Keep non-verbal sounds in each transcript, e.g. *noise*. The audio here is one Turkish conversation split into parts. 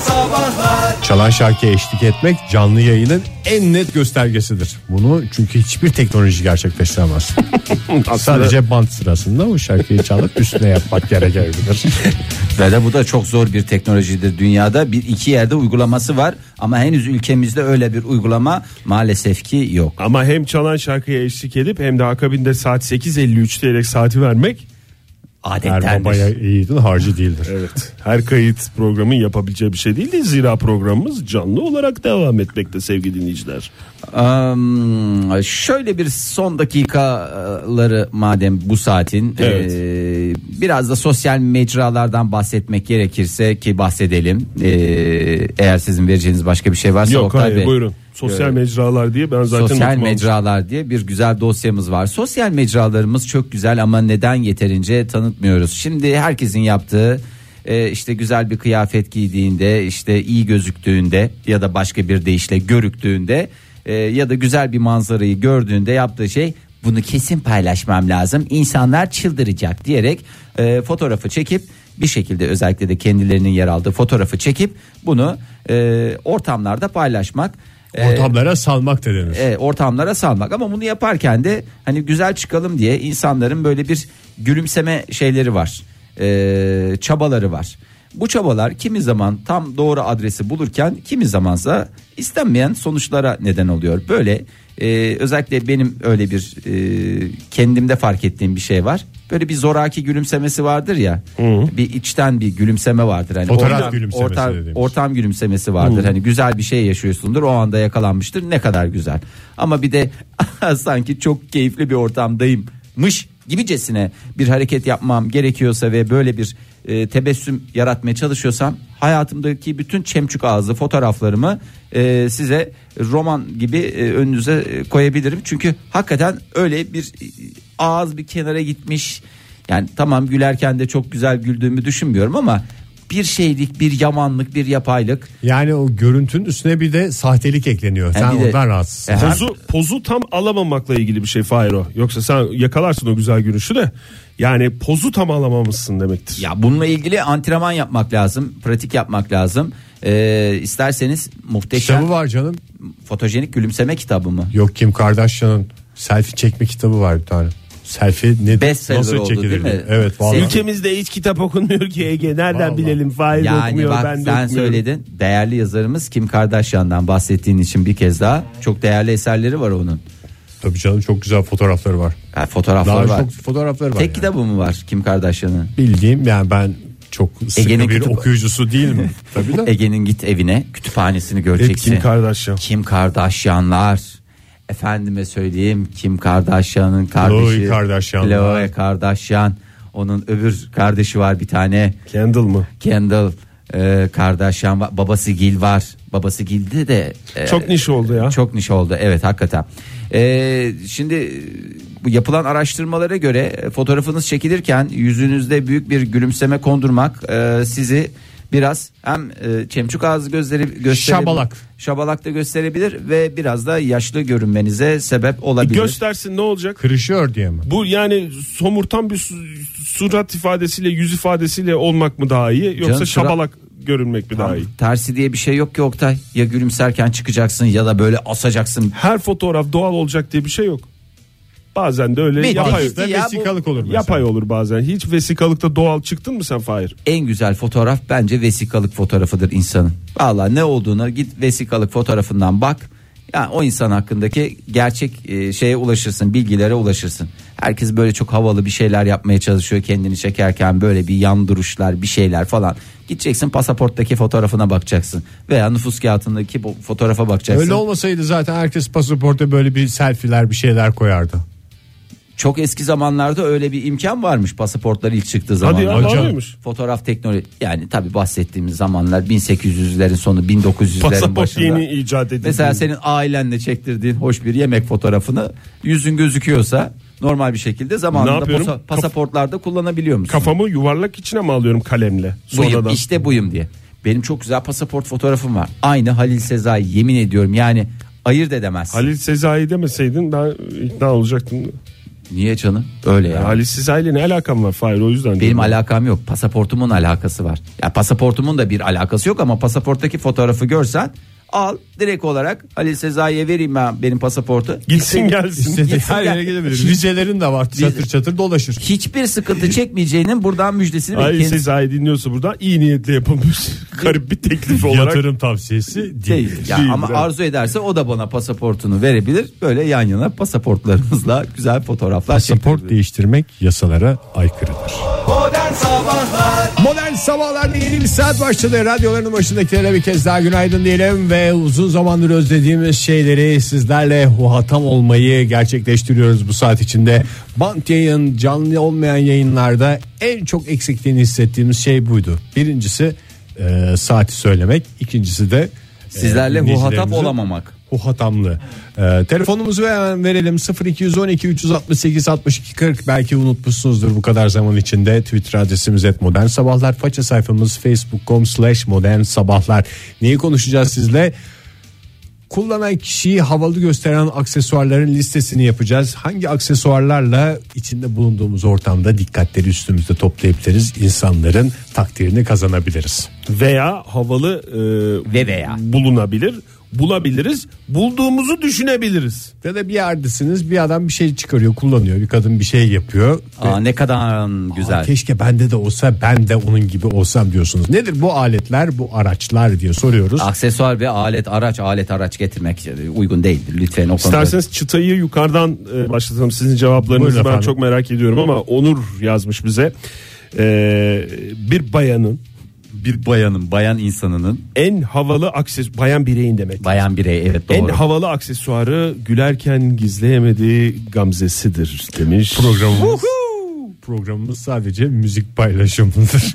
Sabahlar Çalan şarkıya eşlik etmek canlı yayının en net göstergesidir. Bunu çünkü hiçbir teknoloji gerçekleştiremez. *laughs* Sadece band sırasında o şarkıyı çalıp üstüne yapmak gerekebilir. Ve de bu da çok zor bir teknolojidir dünyada. Bir iki yerde uygulaması var ama henüz ülkemizde öyle bir uygulama maalesef ki yok. *laughs* Ama hem çalan şarkıya eşlik edip hem de akabinde saat 8.53 diyerek saati vermek Her Adettendir. babaya iyiydin harcı değildir. Evet. Her kayıt programın yapabileceği bir şey değildi. Zira programımız canlı olarak devam etmekte sevgili dinleyiciler. Am, şöyle bir son dakikaları madem bu saatin Evet. eee, biraz da sosyal mecralardan bahsetmek gerekirse ki bahsedelim. Eee, eğer sizin vereceğiniz başka bir şey varsa Yok Oktay hayır Bey. buyurun. Sosyal mecralar diye ben zaten Sosyal notumu almıştım. mecralar diye bir güzel dosyamız var. Sosyal mecralarımız çok güzel ama neden yeterince tanıtmıyoruz? Şimdi herkesin yaptığı e, işte güzel bir kıyafet giydiğinde, işte iyi gözüktüğünde ya da başka bir deyişle görüktüğünde e, ya da güzel bir manzarayı gördüğünde yaptığı şey bunu kesin paylaşmam lazım. İnsanlar çıldıracak diyerek e, fotoğrafı çekip bir şekilde özellikle de kendilerinin yer aldığı fotoğrafı çekip bunu e, ortamlarda paylaşmak. Ee, E, Ortamlara salmak da denir. e, ortamlara salmak ama bunu yaparken de hani güzel çıkalım diye insanların böyle bir gülümseme şeyleri var E, çabaları var bu çabalar kimi zaman tam doğru adresi bulurken kimi zamansa istenmeyen sonuçlara neden oluyor böyle e, özellikle benim öyle bir e, kendimde fark ettiğim bir şey var böyle bir zoraki gülümsemesi vardır ya bir içten bir gülümseme vardır hani Fotoğraf gülümsemesi ortam, dediğimiz. Hmm. ortam gülümsemesi vardır. Hani güzel bir şey yaşıyorsundur. O anda yakalanmıştır. Ne kadar güzel. Ama bir de *laughs* sanki çok keyifli bir ortamdayımmış gibicesine bir hareket yapmam gerekiyorsa ve böyle bir e, tebessüm yaratmaya çalışıyorsam hayatımdaki bütün çemçük ağzı fotoğraflarımı e, size roman gibi e, önünüze e, koyabilirim. Çünkü hakikaten öyle bir e, ağız bir kenara gitmiş. Yani tamam gülerken de çok güzel güldüğümü düşünmüyorum ama bir şeylik, bir yamanlık, bir yapaylık. Yani o görüntünün üstüne bir de sahtelik E, ekleniyor. Sen bir de- ondan rahatsızsın. E, her- Pozu, pozu tam alamamakla ilgili bir şey Fahir o. Yoksa sen yakalarsın o güzel gülüşü de. Yani pozu tam alamamışsın demektir. Ya bununla ilgili antrenman yapmak lazım, pratik yapmak lazım. Ee, isterseniz muhteşem Kitabı var canım. fotojenik gülümseme kitabı mı? Yok Kim Kardashian'ın selfie çekme kitabı var bir tane. Selfie ne Best seller nasıl oldu, çekilir? değil mi? Evet vallahi. Selfie- Ülkemizde hiç kitap okunmuyor ki Ege. Nereden Vallahi. bilelim Fahir de Yani okumuyor bak ben de sen okumuyorum. söyledin. Değerli yazarımız Kim Kardashian'dan bahsettiğin için bir kez daha çok değerli eserleri var onun. Tabii canım çok güzel fotoğrafları var. Ha, Daha fotoğrafları var. çok fotoğrafları var. Tek yani. kitabı mı var Kim Kardashian'ın? bildiğim yani ben çok sıkı Ege'nin bir kitabı. E- okuyucusu değilim. *laughs* Tabii de. Ege'nin git evine kütüphanesini Hep göreceksin. Kim Kardashian. Kim Kardashianlar. Efendime söyleyeyim Kim Kardashian'ın kardeşi. Khloe Kardashian. Khloe Kardashian. Onun öbür kardeşi var bir tane. Kendall mı? Kendall e, Kardashian var. Babası Gil var. Babası Gil'de de. e, Çok niş oldu ya. Çok niş oldu evet hakikaten. E, şimdi e, bu yapılan araştırmalara göre e, fotoğrafınız çekilirken yüzünüzde büyük bir gülümseme kondurmak e, sizi biraz hem e, çemçük ağzı gözleri gösterebilir. Şabalak. Şabalak da gösterebilir ve biraz da yaşlı görünmenize sebep olabilir. Göstersin ne olacak? Kırışıyor diye mi? Bu yani somurtan bir su- surat ifadesiyle yüz ifadesiyle olmak mı daha iyi yoksa Canım, sıra- şabalak görünmek mi daha iyi? Tersi diye bir şey yok ki Oktay. Ya gülümserken çıkacaksın ya da böyle asacaksın. Her fotoğraf doğal olacak diye bir şey yok. Bazen de öyle Bitti yapay, gitti ya bu- vesikalık olur mesela. yapay olur bazen. Hiç vesikalıkta doğal çıktın mı sen Fahir? en güzel fotoğraf bence vesikalık fotoğrafıdır insanın. Valla ne olduğuna git vesikalık fotoğrafından bak. Yani o insan hakkındaki gerçek e, şeye ulaşırsın, bilgilere ulaşırsın. Herkes böyle çok havalı bir şeyler yapmaya çalışıyor kendini çekerken böyle bir yan duruşlar, bir şeyler falan. Gideceksin pasaporttaki fotoğrafına bakacaksın veya nüfus kağıtındaki bu fotoğrafa bakacaksın. Öyle olmasaydı zaten herkes pasaporta böyle bir selfiler bir şeyler koyardı. Çok eski zamanlarda öyle bir imkan varmış pasaportlar ilk çıktığı zaman. Hadi ya Hocam. varmış. Fotoğraf teknoloji yani tabi bahsettiğimiz zamanlar 1800'lerin sonu 1900'lerin Pasaport başında. yeni icat edildi. Mesela senin ailenle çektirdiğin hoş bir yemek fotoğrafını yüzün gözüküyorsa normal bir şekilde Ne zamanında yapıyorum? pasa- pasaportlarda kullanabiliyor musun? Kafamı yuvarlak içine mi alıyorum kalemle? buyum, Sonradan. işte buyum diye. Benim çok güzel pasaport fotoğrafım var. Aynı Halil Sezai yemin ediyorum yani ayırt edemezsin. Halil Sezai demeseydin ben ikna olacaktım. Niye canım? Öyle ya. Ali Sizay'la ne alakam var Fahir o yüzden. Benim diyorum. alakam yok. Pasaportumun alakası var. Ya pasaportumun da bir alakası yok ama pasaporttaki fotoğrafı görsen al direkt olarak Halil Sezai'ye vereyim ben benim pasaportu. Gitsin gelsin. İstediği Gitsin her gel- yere gidebilir. Vizelerin de var. Çatır çatır dolaşır. Hiçbir sıkıntı çekmeyeceğinin buradan müjdesini Ali bekleyin. Sezai dinliyorsa buradan iyi *laughs* niyetle yapılmış garip bir teklif olarak. Yatırım tavsiyesi değil. Değil. Ya Değil, ama evet. arzu ederse o da bana pasaportunu verebilir. Böyle yan yana pasaportlarımızla güzel fotoğraflar Pasaport çekilebilir. değiştirmek yasalara aykırıdır. Modern sabahlarda yeni bir saat başladı. Radyoların başındakilere bir kez daha günaydın diyelim ve uzun zamandır özlediğimiz şeyleri sizlerle muhatap olmayı gerçekleştiriyoruz bu saat içinde. Bant yayın, canlı olmayan yayınlarda en çok eksikliğini hissettiğimiz şey buydu. Birincisi e, saati söylemek, ikincisi de e, Sizlerle muhatap dinleyicilerimizin- olamamak. Huhatamlı. Ee, telefonumuzu hemen verelim 0212 368 62 40 belki unutmuşsunuzdur bu kadar zaman içinde Twitter adresimiz et modern sabahlar faça sayfamız facebook.com slash modern sabahlar neyi konuşacağız sizle kullanan kişiyi havalı gösteren aksesuarların listesini yapacağız hangi aksesuarlarla içinde bulunduğumuz ortamda dikkatleri üstümüzde toplayabiliriz insanların takdirini kazanabiliriz veya havalı e, Ve veya. bulunabilir bulabiliriz bulduğumuzu düşünebiliriz ya da bir yerdesiniz bir adam bir şey çıkarıyor kullanıyor bir kadın bir şey yapıyor Aa, ne kadar güzel. Aa, keşke bende de olsa ben de onun gibi olsam diyorsunuz. Nedir bu aletler bu araçlar diye soruyoruz. Aksesuar ve alet araç alet araç getirmek uygun değildir lütfen o konuda. İsterseniz çıtayı yukarıdan e, başlatalım sizin cevaplarınızı Buyurun ben efendim. çok merak ediyorum ama Onur yazmış bize E, bir bayanın bir bayanın bayan insanının en havalı akses bayan bireyin demek bayan birey evet doğru. en havalı aksesuarı gülerken gizleyemediği gamzesidir demiş Programımız, programımız sadece müzik *laughs* paylaşımıdır.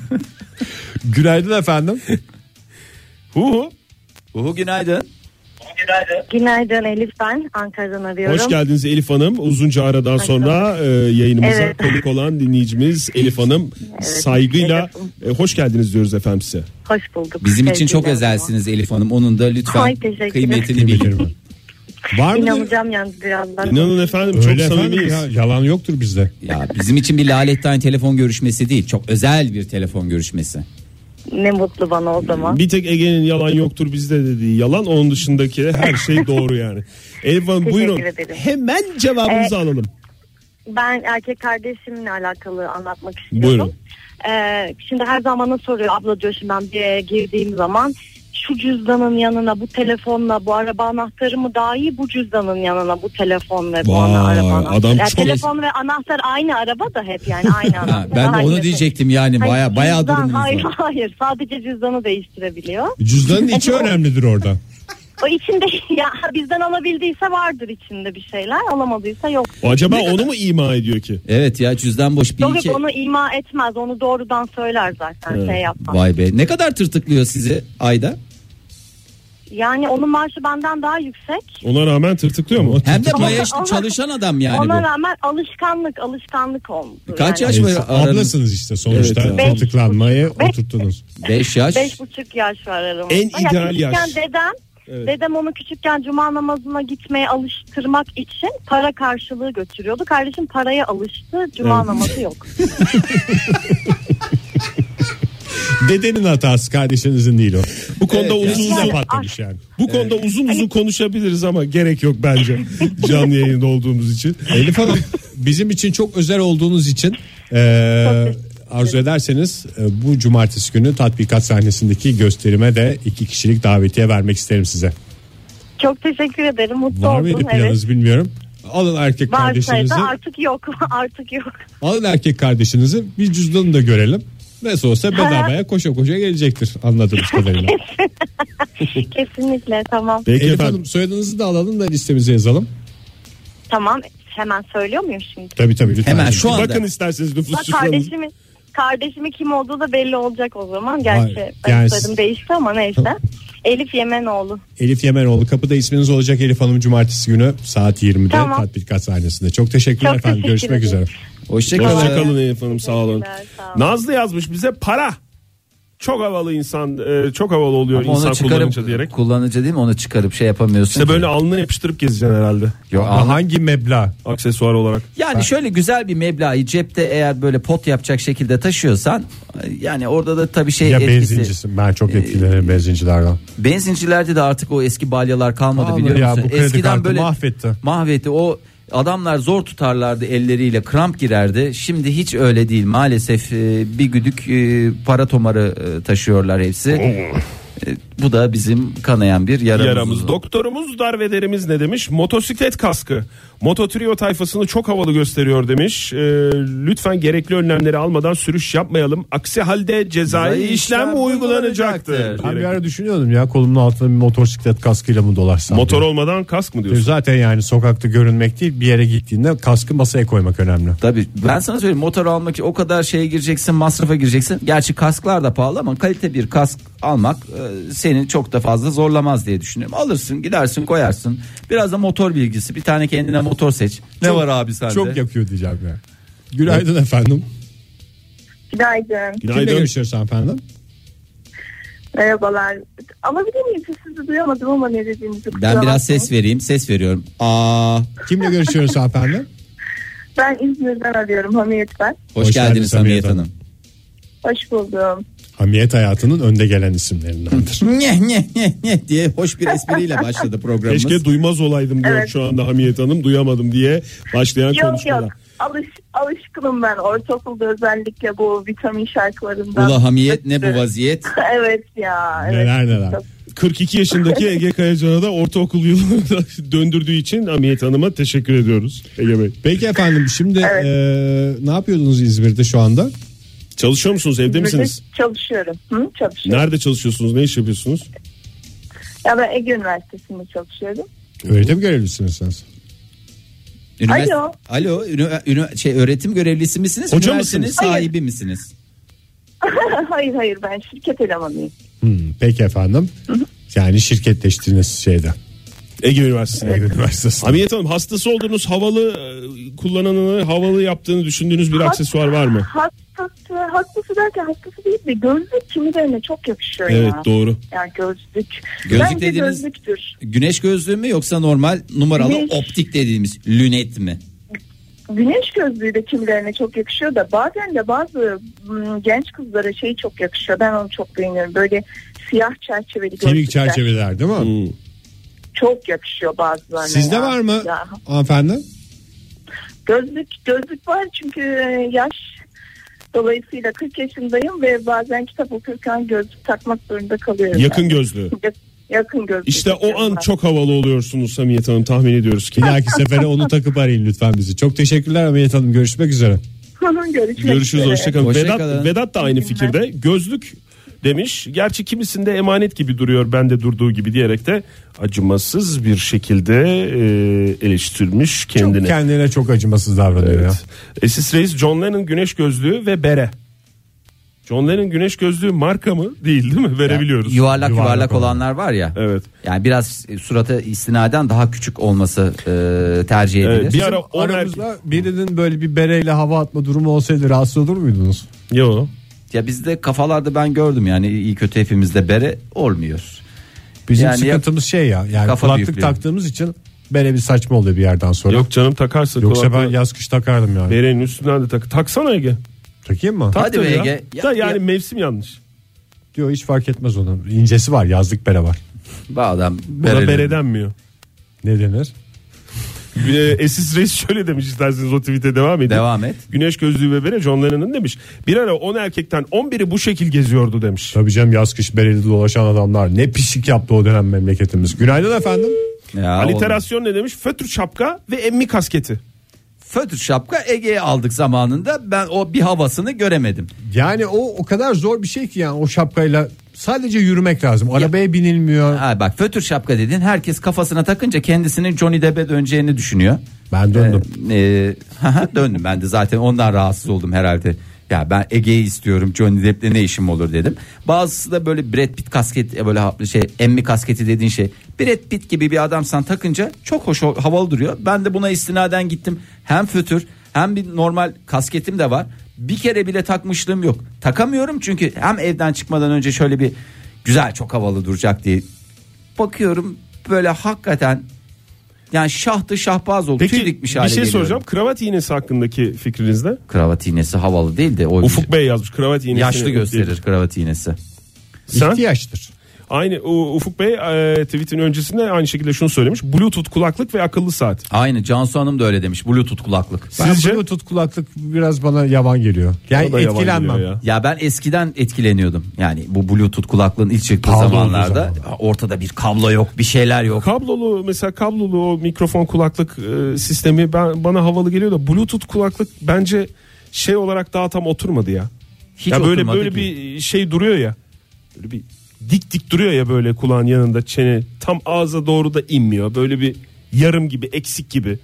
Günaydın efendim. Hu hu. Uhu günaydın. Günaydın Elif ben Ankara'dan arıyorum. Hoş geldiniz Elif Hanım. Uzunca aradan sonra e, yayınımıza Evet. konuk olan *laughs* dinleyicimiz Elif Hanım saygıyla e, hoş geldiniz diyoruz efendim size. Hoş bulduk. Bizim için Sevgiler çok ama. ezelsiniz Elif Hanım. Onun da lütfen Ay, teşekkürler. kıymetini Bilir bilin. mi? Var mı? İnanacağım yalnız birazdan. İnanın efendim Öyle çok efendim samimiyiz. ya, yalan yoktur bizde. ya bizim için bir laletten telefon görüşmesi değil. Çok özel bir telefon görüşmesi. Ne mutlu bana o zaman. Bir tek Ege'nin yalan yoktur bizde dediği yalan onun dışındaki her *laughs* şey doğru yani. Elif Hanım Teşekkür buyurun ederim. hemen cevabınızı alalım. Ben erkek kardeşimle alakalı anlatmak istiyorum. Buyurun. Ee, şimdi her zaman bana soruyor abla diyor şimdi ben bir yere girdiğim zaman şu cüzdanın yanına bu telefonla bu araba anahtarı mı daha iyi bu cüzdanın yanına bu telefon ve bu Vay, ana- araba anahtarı. adam Ya çok- telefon ve anahtar aynı araba da *laughs* hep yani aynı Ha, anahtar. ben de aynı onu şey. diyecektim yani. Hayır, Baya baya cüzdan- durumunuz Hayır var. hayır sadece cüzdanı değiştirebiliyor. *laughs* Cüzdanın içi önemlidir orada. O içinde *laughs* ya bizden alabildiyse vardır içinde bir şeyler alamadıysa yok. Acaba onu mu ima ediyor ki? Evet ya cüzdan boş bir Yok iki. yok onu ima etmez onu doğrudan söyler zaten şey yapmaz. Vay be ne kadar tırtıklıyor sizi ayda? Yani onun maaşı benden daha yüksek. Ona rağmen tırtıklıyor mu? Hem de Ona- bayağı ona- çalışan adam yani Ona bu. rağmen alışkanlık alışkanlık olmuş. Kaç yaş yani. Evet, aranız- ablasınız işte sonuçta Evet, evet. tıklanmayı Beş- oturttunuz. 5 yaş. Beş buçuk yaş var aramızda. En ideal küçükken yaş. Dedem, Evet. dedem onu küçükken cuma namazına gitmeye alıştırmak için para karşılığı götürüyordu. Kardeşim paraya alıştı cuma namazı yok. Dedenin hatası kardeşinizin değil o. Bu konuda Evet, uzun Size Yani- Hani- patlamış yani. bu konuda uzun uzun konuşabiliriz ama gerek yok bence canlı yayında olduğumuz için. Elif Hanım bizim için çok özel olduğunuz için e, arzu ederseniz e, bu cumartesi günü tatbikat sahnesindeki gösterime de iki kişilik davetiye vermek isterim size. Çok teşekkür ederim. Mutlu Var oldum. mıydı planınız bilmiyorum. Alın erkek Varsaydı kardeşinizi. artık yok. *laughs* artık yok. Alın erkek kardeşinizi bir cüzdanını da görelim. Nasıl olsa bedavaya koşa koşa gelecektir anladığımız kadarıyla. Kesinlikle tamam. Peki Elif efendim. Hanım soyadınızı da alalım da listemize yazalım. Tamam. Hemen söylüyor muyum şimdi? Tabii tabii lütfen. Hemen şu anda. Bakın isterseniz nüfus Bak cüzdanınızı. kardeşimi kardeşimi kim olduğu da belli olacak o zaman. Gerçi Hayır, ben yani- soyadım değişti ama neyse. Elif Yemenoğlu. Elif Yemenoğlu kapıda isminiz olacak Elif Hanım cumartesi günü saat 20'de Tamam. tatbikat sahnesinde. Çok teşekkürler Çok efendim. teşekkür Görüşmek ederim. üzere. Hoşçakalın. Hoşçakalın Elif Hanım sağ olun. Teşekkürler, sağ olun. Nazlı yazmış bize para. çok havalı insan e, çok havalı oluyor Ama insan onu çıkarıp kullanıcı diyerek. kullanıcı değil mi onu çıkarıp şey yapamıyorsun. İşte ki. böyle alnına yapıştırıp gezeceksin herhalde. Yok, Ama anla- hangi meblağ? Aksesuar olarak. Yani şöyle güzel bir meblağı cepte eğer böyle pot yapacak şekilde taşıyorsan yani orada da tabii E, şey Ya etkisi. benzincisin. Ben çok etkilenirim benzincilerden. Benzincilerde de artık o eski balyalar kalmadı Kalmadı biliyor ya, musun? bu kredi kartı mahvetti. Mahvetti. O adamlar zor tutarlardı elleriyle kramp girerdi. Şimdi hiç öyle değil maalesef e, bir güdük e, para tomarı e, taşıyorlar hepsi. E, Bu da bizim kanayan bir yaramız. Yaramız doktorumuz darvederimiz ne demiş? Motosiklet kaskı. Mototrio tayfasını çok havalı gösteriyor demiş. Ee, lütfen gerekli önlemleri almadan sürüş yapmayalım. Aksi halde cezai Cezai işlem işlem uygulanacaktır. uygulanacaktır. Ben bir ara düşünüyordum ya kolumun altında bir motosiklet kaskıyla mı dolaşsam? Motor diye. olmadan kask mı diyorsun? E, Zaten yani sokakta görünmek değil bir yere gittiğinde kaskı masaya koymak önemli. Tabii ben sana söyleyeyim motor almak için o kadar şeye gireceksin masrafa gireceksin. Gerçi kasklar da pahalı ama kalite bir kask almak e, seni çok da fazla zorlamaz diye düşünüyorum. Alırsın gidersin koyarsın biraz da motor bilgisi bir tane kendine motor seç. Ne var abi sende? Çok yakıyor diyeceğim ya. Günaydın efendim. Günaydın. Kimle Günaydın. görüşüyoruz efendim? Merhabalar. Alabilir miyim? Sizi duyamadım ama ne dediğinizi kusura Ben biraz bakmayın. ses vereyim ses veriyorum. Aa, Kimle görüşüyoruz efendim? Ben İzmir'den arıyorum Hamiyet ben. hoş, Hoş geldin geldiniz Hamiyet Hamiyet Hanım. Hoş buldum. *laughs* Hamiyet hayatının önde gelen *laughs* isimlerindendir. Nyeh, nyeh, nyeh, nyeh diye hoş bir espriyle başladı programımız. Keşke duymaz olaydım diyor Evet. şu anda Hamiyet Hanım. Duyamadım diye başlayan Yok konuşmalar. yok. Alış, alışkınım ben. Ortaokulda özellikle bu vitamin şarkılarından. Ula Hamiyet ne bu vaziyet? *laughs* evet ya. Evet. Neler neler. Çok- 42 yaşındaki Ege Kayacan'a da ortaokul yıllarında *laughs* döndürdüğü için Hamiyet Hanım'a teşekkür ediyoruz. Ege Bey. Peki efendim şimdi Evet. eee, ne yapıyordunuz İzmir'de şu anda? Çalışıyor musunuz? Evde İzmir'de misiniz? Çalışıyorum. Hı, çalışıyorum. Nerede çalışıyorsunuz? Ne iş yapıyorsunuz? Ya ben Ege Üniversitesi'nde çalışıyorum. *laughs* Öğretim görevlisiniz siz. Ünivers- Alo. Alo. ünü- ünü- şey, öğretim görevlisi misiniz? Hoca Üniversitenin mısınız? sahibi misiniz? hayır hayır ben şirket elemanıyım. Hmm, peki efendim. Yani şirketleştiğiniz şeyde. Ege Üniversitesi'nde. Ege Üniversitesi. Hamiyet Hanım hastası olduğunuz havalı e, kullananını havalı yaptığını düşündüğünüz bir aksesuar var mı? Hastası, hastası derken hastası değil de gözlük kimilerine çok yakışıyor Evet ya. doğru. Yani gözlük. Gözlük Bence dediğiniz- gözlüktür. Güneş gözlüğü mü yoksa normal numaralı Güneş. optik dediğimiz lünet mi? Güneş gözlüğü de kimilerine çok yakışıyor da bazen de bazı m, genç kızlara şey çok yakışıyor. Ben onu çok beğeniyorum. Böyle siyah çerçeveli gözlükler. Kemik çerçeveler değil mi? Hmm. Çok yakışıyor bazılarına. Sizde ya. var mı Ya. hanımefendi? Gözlük, gözlük var çünkü e, yaş dolayısıyla 40 yaşındayım ve bazen kitap okurken gözlük takmak zorunda kalıyorum. Yakın gözlü. Yani. Yakın gözlük. İşte o an takıyorum ben. çok havalı oluyorsunuz Hamiyet Hanım tahmin ediyoruz ki. Bir dahaki sefere onu takıp arayın lütfen bizi. Çok teşekkürler Hamiyet Hanım. Görüşmek üzere. Görüşmek Görüşürüz üzere. hoşçakalın. Ee, Hoşça Vedat, kalın. Vedat da aynı fikirde. Gözlük demiş. Gerçi kimisinde emanet gibi duruyor bende durduğu gibi diyerek de acımasız bir şekilde e, eleştirmiş kendini. Çok kendine çok acımasız davranıyor ya. Evet. Esis Reis John Lennon güneş gözlüğü ve bere. John Lennon güneş gözlüğü marka mı? Değil değil mi? Verebiliyoruz. Yuvarlak yuvarlak, Yuvarlak olan. olanlar var ya. Evet. Yani biraz e, surata istinaden daha küçük olması e, tercih edilir. Evet, bir ara on erkek. Aramızda birinin böyle bir bereyle hava atma durumu olsaydı rahatsız olur muydunuz? Yo. Ya bizde kafalarda ben gördüm yani iyi kötü hepimizde bere olmuyor. Bizim Yani sıkıntımız şey ya. Yani Kafa kulaklık büyüklüğü. taktığımız için bere bir saçma oluyor bir yerden sonra. Yok canım takarsın. Yoksa ben kulaklığı. yaz kış takardım yani. Berenin üstünden de tak. Taksana Ege. Takayım mı? Tak Hadi tabii be ya. Ege. Da Ya- yani ya- mevsim yanlış. Diyor hiç fark etmez onun. İncesi var yazlık bere var. Bu adam Buna bereli. bere denmiyor. Ne denir? Bir de Esis Reis şöyle demiş isterseniz o tweet'e devam edin. Devam et. Güneş gözlüğü ve bere John Lennon'ın demiş. Bir ara 10 erkekten 11'i bu şekil geziyordu demiş. Tabii canım yaz kış bereli dolaşan adamlar. Ne pislik yaptı o dönem memleketimiz. Günaydın efendim. Ya oğlum. Aliterasyon ne demiş? Fötr şapka ve emmi kasketi. Fötr şapka Ege'ye aldık zamanında ben o bir havasını göremedim. Yani o o kadar zor bir şey ki yani o şapkayla sadece yürümek lazım. Arabaya binilmiyor. Ha bak fötür şapka dedin herkes kafasına takınca kendisinin Johnny Depp'e döneceğini düşünüyor. Ben döndüm. Ee, e, haha, döndüm ben de zaten ondan rahatsız oldum herhalde. Ya ben Ege'yi istiyorum Johnny Depp'le ne işim olur dedim. Bazısı da böyle Brad Pitt kasket e, böyle ha- şey emmi kasketi dediğin şey. Brad Pitt gibi bir adamsan takınca çok hoş havalı duruyor. Ben de buna istinaden gittim. Hem fötür hem bir normal kasketim de var. bir kere bile takmışlığım yok. Takamıyorum çünkü hem evden çıkmadan önce şöyle bir güzel çok havalı duracak diye bakıyorum böyle hakikaten yani şahtı şahbaz oldu. Tüy Peki bir dikmiş şey hale geliyorum. soracağım. Kravat iğnesi hakkındaki fikriniz ne? Kravat iğnesi havalı değil de o Ufuk Bey şey yazmış kravat iğnesi. yaşlı gösterir kravat iğnesi. Sen? İhtiyaçtır. Aynı o Ufuk Bey e, tweetin öncesinde aynı şekilde şunu söylemiş. Bluetooth kulaklık ve akıllı saat. Aynı Cansu Hanım da öyle demiş. Bluetooth kulaklık. Ben Sizce? Bluetooth kulaklık biraz bana yavan geliyor. O Yani da yavan etkilenmem. geliyor ya. Ya ben eskiden etkileniyordum. Yani bu Bluetooth kulaklığın ilk çıktığı Pahalı olduğu zamanlarda zaman. ortada bir kablo yok, bir şeyler yok. Kablolu mesela kablolu o mikrofon kulaklık e, sistemi ben bana havalı geliyor da Bluetooth kulaklık bence şey olarak daha tam oturmadı ya. Hiç ya böyle oturmadı böyle ki. bir şey duruyor ya. Böyle bir dik dik duruyor ya böyle kulağın yanında çene tam ağza doğru da inmiyor. Böyle bir yarım gibi eksik gibi.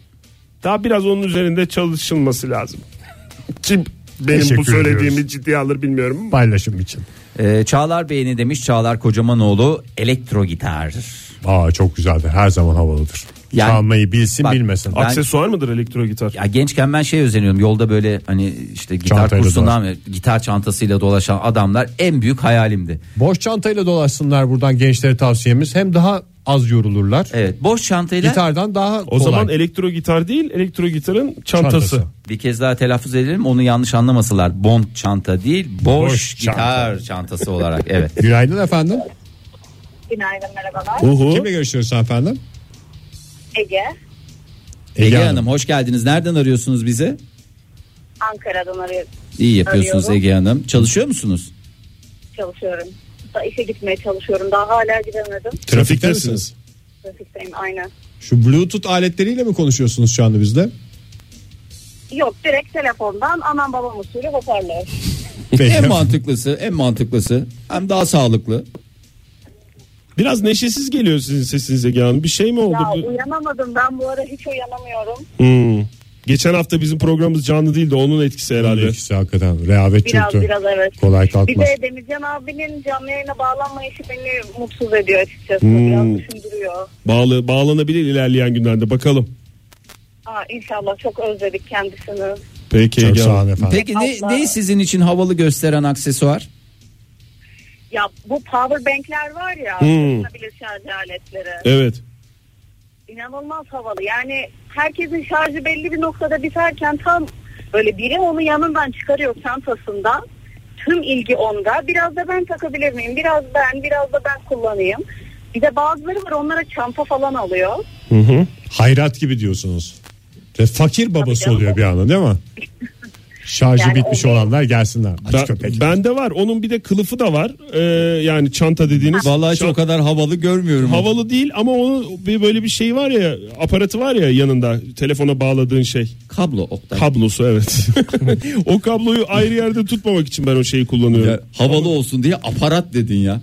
Daha biraz onun üzerinde çalışılması lazım. *laughs* Kim benim bu Teşekkür söylediğimi ediyoruz. ciddiye alır bilmiyorum ama. Paylaşım için. Ee, Çağlar Bey'ini demiş Çağlar Kocamanoğlu elektro gitar. Aa çok güzeldir. Her zaman havalıdır. Yani- Çalmayı bilsin Bak- bilmesin. Ben- Aksesuar mıdır elektro gitar? Ya gençken ben şey özeniyorum yolda böyle hani işte gitar Çantayla kursundan gitar çantasıyla dolaşan adamlar en büyük hayalimdi. Boş çantayla dolaşsınlar buradan gençlere tavsiyemiz. Hem daha az yorulurlar. Evet boş çantayla Gitardan daha o kolay. zaman e- elektro gitar değil, elektro gitarın çantası. Çantası. bir kez daha telaffuz edelim onu yanlış anlamasınlar. Bond çanta değil boş, Boş gitar çantası olarak evet. Günaydın efendim. Günaydın merhabalar. Kimle görüşüyoruz efendim? Ege. Ege, Hanım hoş geldiniz. Nereden arıyorsunuz bizi? Ankara'dan arıyorum. İyi yapıyorsunuz Arıyorum. Ege Hanım. Çalışıyor musunuz? Çalışıyorum. Da işe gitmeye çalışıyorum. Daha hala gidemedim. Trafikte Trafiktesiniz. misiniz? Trafikteyim aynen. Şu Bluetooth aletleriyle mi konuşuyorsunuz şu anda *laughs* bizde? Yok direkt telefondan anam babam usulü hoparlör. en mantıklısı, en mantıklısı. Hem daha sağlıklı. Biraz neşesiz geliyor sizin sesinize Ege Hanım. Bir şey mi oldu? Ya Bu- uyanamadım ben bu ara hiç uyanamıyorum. Hmm. Geçen hafta bizim programımız canlı değildi. Onun etkisi herhalde. İkisi hakikaten rehavet Biraz çöktü. biraz evet. Kolay Bir kalkmaz. de Demircan abinin canlı yayına bağlanmayışı beni mutsuz ediyor açıkçası. Hmm. Biraz düşündürüyor. Bağlı, bağlanabilir ilerleyen günlerde. Bakalım. Aa, inşallah çok özledik kendisini. Peki Çok Ege sağ Hanım. olun efendim. Peki ne, Allah. ne sizin için havalı gösteren aksesuar? Ya bu power bankler var ya. Hmm. takılabilir şarj aletleri. E- Evet. İnanılmaz havalı. Yani herkesin şarjı belli bir noktada biterken tam böyle biri onu yanından çıkarıyor çantasından. Tüm ilgi onda. Biraz da ben takabilir miyim? Biraz ben, biraz da ben kullanayım. Bir de bazıları var onlara çanta falan alıyor. Hayrat gibi diyorsunuz. Ve fakir babası canım. oluyor bir anda değil *laughs* mi? Şarjı Yani bitmiş o- olanlar gelsinler. Aç Ben, köpek. bende var. Onun bir de kılıfı da var. Ee, yani çanta dediğiniz. Vallahi Çan- çok kadar havalı görmüyorum. Havalı değil ama onun bir böyle bir şey var ya aparatı var ya yanında telefona bağladığın şey Kablo Oktay. kablosu evet *laughs* o kabloyu ayrı yerde tutmamak için ben o şeyi kullanıyorum Ya, havalı olsun diye aparat dedin ya.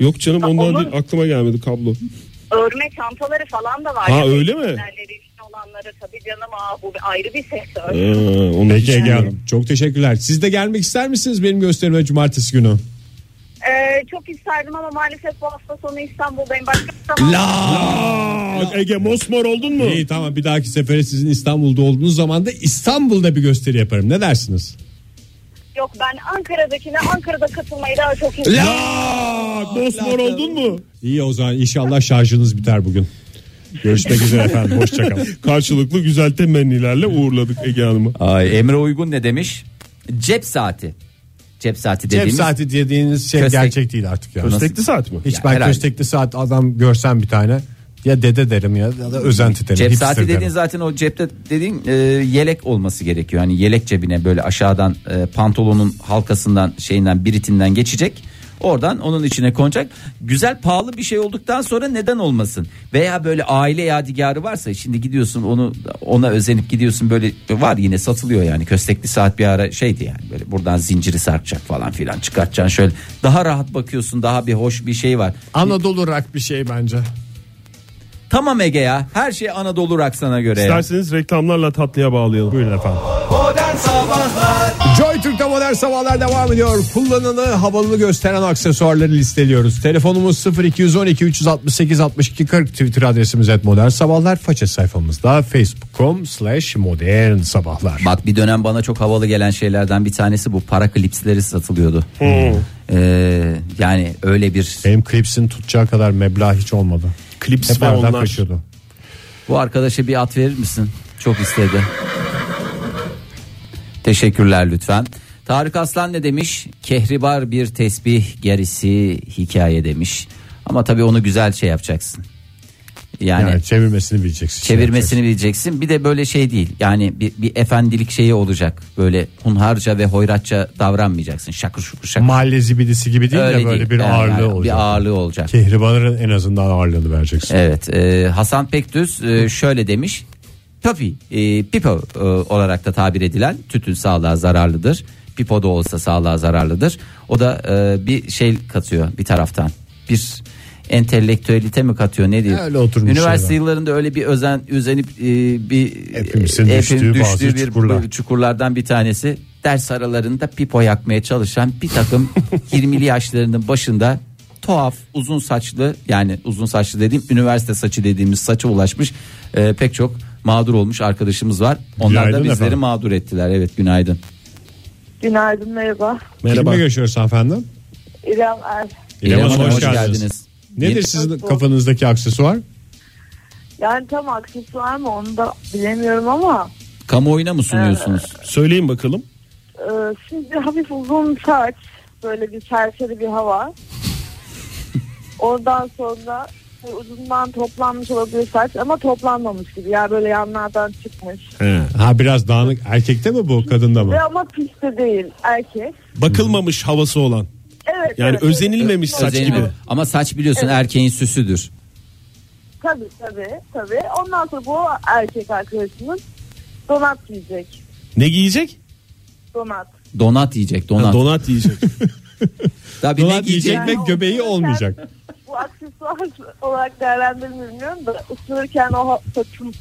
yok canım Ha, ondan onun- değil, aklıma gelmedi kablo Örme çantaları falan da var. Ha, Ya, öyle mi? elbiselerleri için olanları tabii canım aa, bu bir ayrı bir sektör. Ee, onu Peki Ege bilmiyorum. Hanım çok teşekkürler. Siz de gelmek ister misiniz benim gösterime cumartesi günü? Ee, çok isterdim ama maalesef bu hafta sonu İstanbul'dayım. Başka bir zaman... Aa, Ege mosmor oldun mu? İyi tamam bir dahaki sefere sizin İstanbul'da olduğunuz zaman da İstanbul'da bir gösteri yaparım. Ne dersiniz? Yok ben Ankara'dakine Ankara'da katılmayı daha çok istiyorum. Aa, mosmor oldun mu? İyi o zaman inşallah şarjınız biter bugün. Görüşmek üzere efendim. Hoşçakalın. Karşılıklı güzel temennilerle uğurladık Ege Hanım'ı. Ay, Emre Uygun ne demiş? Cep saati. Cep saati Cep dediğimiz. saati dediğiniz şey Köstek- gerçek değil artık ya. Köstekli saat mi? Hiç Ya ben herhalde. köstekli saat adam görsem bir tane ya dede derim ya, ya da özenti derim. Cep hipster saati dediğin derim. zaten o cepte dediğin e, yelek olması gerekiyor. Hani yelek cebine böyle aşağıdan e, pantolonun halkasından şeyinden biritinden geçecek. Oradan onun içine konacak. Güzel pahalı bir şey olduktan sonra neden olmasın? Veya böyle aile yadigarı varsa şimdi gidiyorsun onu ona özenip gidiyorsun böyle var yine satılıyor yani köstekli saat bir ara şeydi yani böyle buradan zinciri sarkacak falan filan çıkartacaksın şöyle daha rahat bakıyorsun daha bir hoş bir şey var. Anadolu rak bir şey bence. Tamam Ege ya her şey Anadolu Raksan'a göre. ya. İsterseniz reklamlarla tatlıya bağlayalım. Buyurun efendim. Joy Joy Türk'te modern sabahlar devam ediyor. Kullanılı havalı gösteren aksesuarları listeliyoruz. Telefonumuz 0212 368 62 40 Twitter adresimiz et modern sabahlar. Faça sayfamızda facebook.com slash modern sabahlar. Bak bir dönem bana çok havalı gelen şeylerden bir tanesi bu para klipsleri satılıyordu. Ee, yani öyle bir şey. Benim klipsin tutacağı kadar meblağ hiç olmadı. Klips Hep ve aradan onlar. kaçıyordu. bu arkadaşa bir at verir misin? Çok istedi. Teşekkürler lütfen. Tarık Aslan ne demiş? Kehribar bir tesbih gerisi hikaye demiş. Ama tabii onu güzel şey yapacaksın. Yani, Yani, çevirmesini bileceksin. çevirmesini bileceksin. Bir de böyle şey değil. Yani bir, bir efendilik şeyi olacak. Böyle hunharca ve hoyratça davranmayacaksın. Şakır şukur şakır. Mahalle zibidisi gibi değil de böyle değil. bir Yani ağırlığı yani olacak. Bir ağırlığı olacak. Kehriban'ın en azından ağırlığını vereceksin. Evet e, Hasan Pekdüz e, şöyle demiş. Papi e, pipo e, olarak da tabir edilen tütün sağlığa zararlıdır. Pipo da olsa sağlığa zararlıdır. O da e, bir şey katıyor bir taraftan. Bir entelektüelite mi katıyor ne diyor? Öyle oturmuş Üniversite şeyler. yıllarında öyle bir özen üzenip e, bir Hepimizin düştüğü bazı çukurlar. çukurlardan bir tanesi ders aralarında pipo yakmaya çalışan bir *laughs* takım 20'li yaşlarının başında tuhaf uzun saçlı yani uzun saçlı dediğim üniversite saçı dediğimiz saça ulaşmış e, pek çok mağdur olmuş arkadaşımız var. Onlar da Günaydın bizleri efendim. mağdur ettiler. Evet günaydın. Günaydın merhaba. Kimle görüşüyoruz hanımefendi? İrem Er. İrem Hanım, Hanım, hoş geldiniz. Nedir sizin kafanızdaki aksesuar? Yani tam aksesuar mı onu da bilemiyorum ama Kamuoyuna mı sunuyorsunuz? Söyleyin bakalım. e, şimdi hafif uzun saç böyle bir serseri bir hava. Ondan sonra e, ucundan toplanmış olabilir saç ama toplanmamış gibi. Yani böyle yanlardan çıkmış. Ha biraz dağınık. Erkekte mi bu, kadında mı? Ve ama pis de değil erkek. Bakılmamış havası olan. Evet. Yani evet. özenilmemiş saç Özenli. gibi. Ama saç biliyorsun erkeğin süsüdür. Tabii tabii tabii. Ondan sonra bu erkek arkadaşımız donat giyecek. Ne giyecek? Donat. Donat yiyecek donat. Ha, donat yiyecek. *laughs* Tabii ne Dolan giyecek? yiyecek ve göbeği olmayacak. bu aksesuar olarak değerlendirilmiyorum da ısırırken o ha- saçın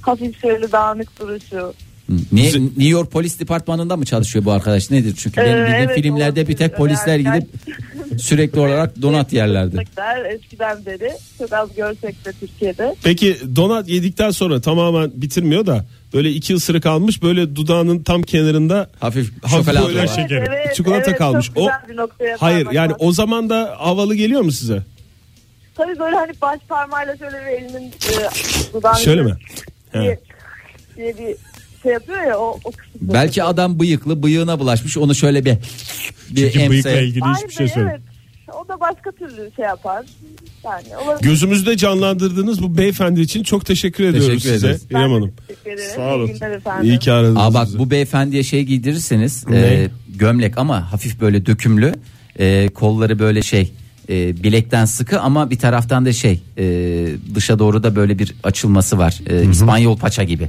hafif şöyle dağınık duruşu. Hı. Niye, New York Polis Departmanı'nda mı çalışıyor bu arkadaş? Nedir? Çünkü benim Ee, bildiğim evet, filmlerde bir tek olabilir. Ee, polisler Yani gidip sürekli olarak donat *laughs* yerlerdi. gerçekten Eskiden beri çok az görsek de Türkiye'de. Peki donat yedikten sonra tamamen bitirmiyor da böyle iki ısırık almış böyle dudağının tam kenarında Hafif Hafif şokolata böyle var. şey- Şekeri. Çikolata kalmış. Çok güzel O- bir noktaya hayır parmak yani bastı. o zaman da havalı geliyor mu size? Tabii böyle hani baş parmağıyla şöyle bir elinin e, dudağını... Şöyle mi? Diye, He. diye bir şey yapıyor ya o, o kısım. Belki adam bıyıklı bıyığına bulaşmış onu şöyle bir bir Çünkü bıyıkla emse. ilgili Hayır hiçbir şey be, söyle. evet. O da başka türlü şey yapar. Yani olabilir. Gözümüzde canlandırdığınız bu beyefendi için çok teşekkür ediyoruz Teşekkür size. ederiz. İrem Hanım. Teşekkür ederim. Sağ olun. İyi günler efendim. İyi ki aradınız. Aa bak bizi. bu beyefendiye şey giydirirseniz Ne? e, gömlek ama hafif böyle dökümlü e, kolları böyle şey e, bilekten sıkı ama bir taraftan da şey e, dışa doğru da böyle bir açılması var E, İspanyol paça gibi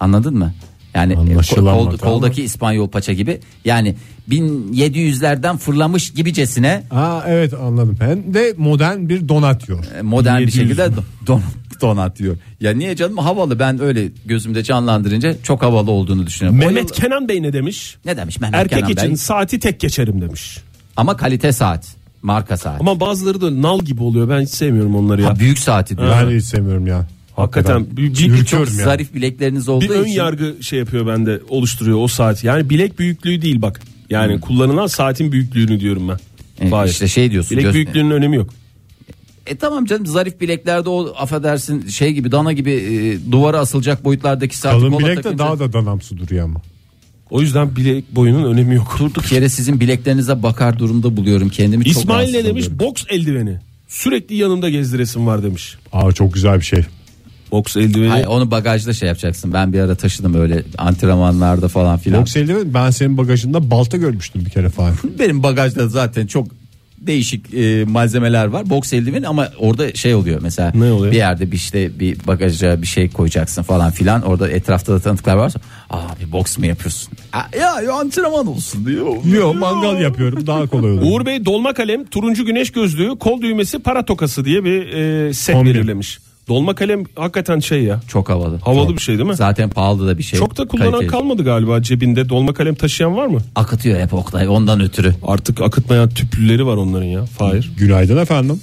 anladın mı? Yani e, ko- kol- Anlaşılamadı koldaki İspanyol paça gibi yani 1700'lerden fırlamış gibicesine Aa evet anladım. Hem de modern bir donat yiyor. e, modern bir 1700 şekilde don- don- donat diyor. Ya niye canım havalı ben öyle gözümde canlandırınca çok havalı olduğunu düşünüyorum. O Mehmet yıl- Kenan Bey ne demiş? ne demiş Mehmet Erkek Kenan için Bey? saati tek geçerim demiş. Ama kalite saat. Marka saat. Ama bazıları da nal gibi oluyor. Ben hiç sevmiyorum onları ya. Ha, büyük saati diyor. Ben de hiç sevmiyorum ya. Hakikaten bir- bir- Ürküyorum çok ya. zarif bilekleriniz olduğu bir ön için. yargı şey yapıyor bende oluşturuyor o saat. Yani bilek büyüklüğü değil bak. Yani kullanılan saatin büyüklüğünü diyorum ben. Hmm. Evet, Fahir. işte şey diyorsun, Bilek göz- büyüklüğünün önemi yok. E tamam canım zarif bileklerde o affedersin şey gibi dana gibi e, duvara asılacak boyutlardaki saat. Kalın bilek de daha da danamsı duruyor ama. O yüzden bilek boyunun önemi yok. Durduk yere sizin bileklerinize bakar durumda buluyorum kendimi. çok İsmail ne rahatsız demiş? oluyorum. Boks eldiveni. Sürekli yanımda gezdiresim var demiş. Aa çok güzel bir şey. Boks eldiveni. Hayır, onu bagajda şey yapacaksın. Ben bir ara taşıdım öyle antrenmanlarda falan filan. Boks eldiveni ben senin bagajında balta görmüştüm bir kere *laughs* falan. Benim bagajda zaten çok değişik e, malzemeler var. Boks eldiveni ama orada şey oluyor mesela. Ne oluyor? Bir yerde bir işte bir bagaja bir şey koyacaksın falan filan. Orada etrafta da tanıklar varsa. Abi boks mu yapıyorsun? "Aa, Ya, ya antrenman olsun diyor. Yok mangal yapıyorum daha kolay olur. Uğur Bey dolma kalem, turuncu güneş gözlüğü, kol düğmesi, para tokası diye bir e, set Kombin. belirlemiş. Dolma kalem hakikaten şey ya. Çok havalı. Havalı Çok. bir şey değil mi? Zaten pahalı da bir şey. Çok da kullanan Kaliteli. kalmadı galiba cebinde. Dolma kalem taşıyan var mı? Akıtıyor hep Oktay ondan ötürü. Artık akıtmayan tüplüleri var onların ya. Fahir. *laughs* Günaydın efendim.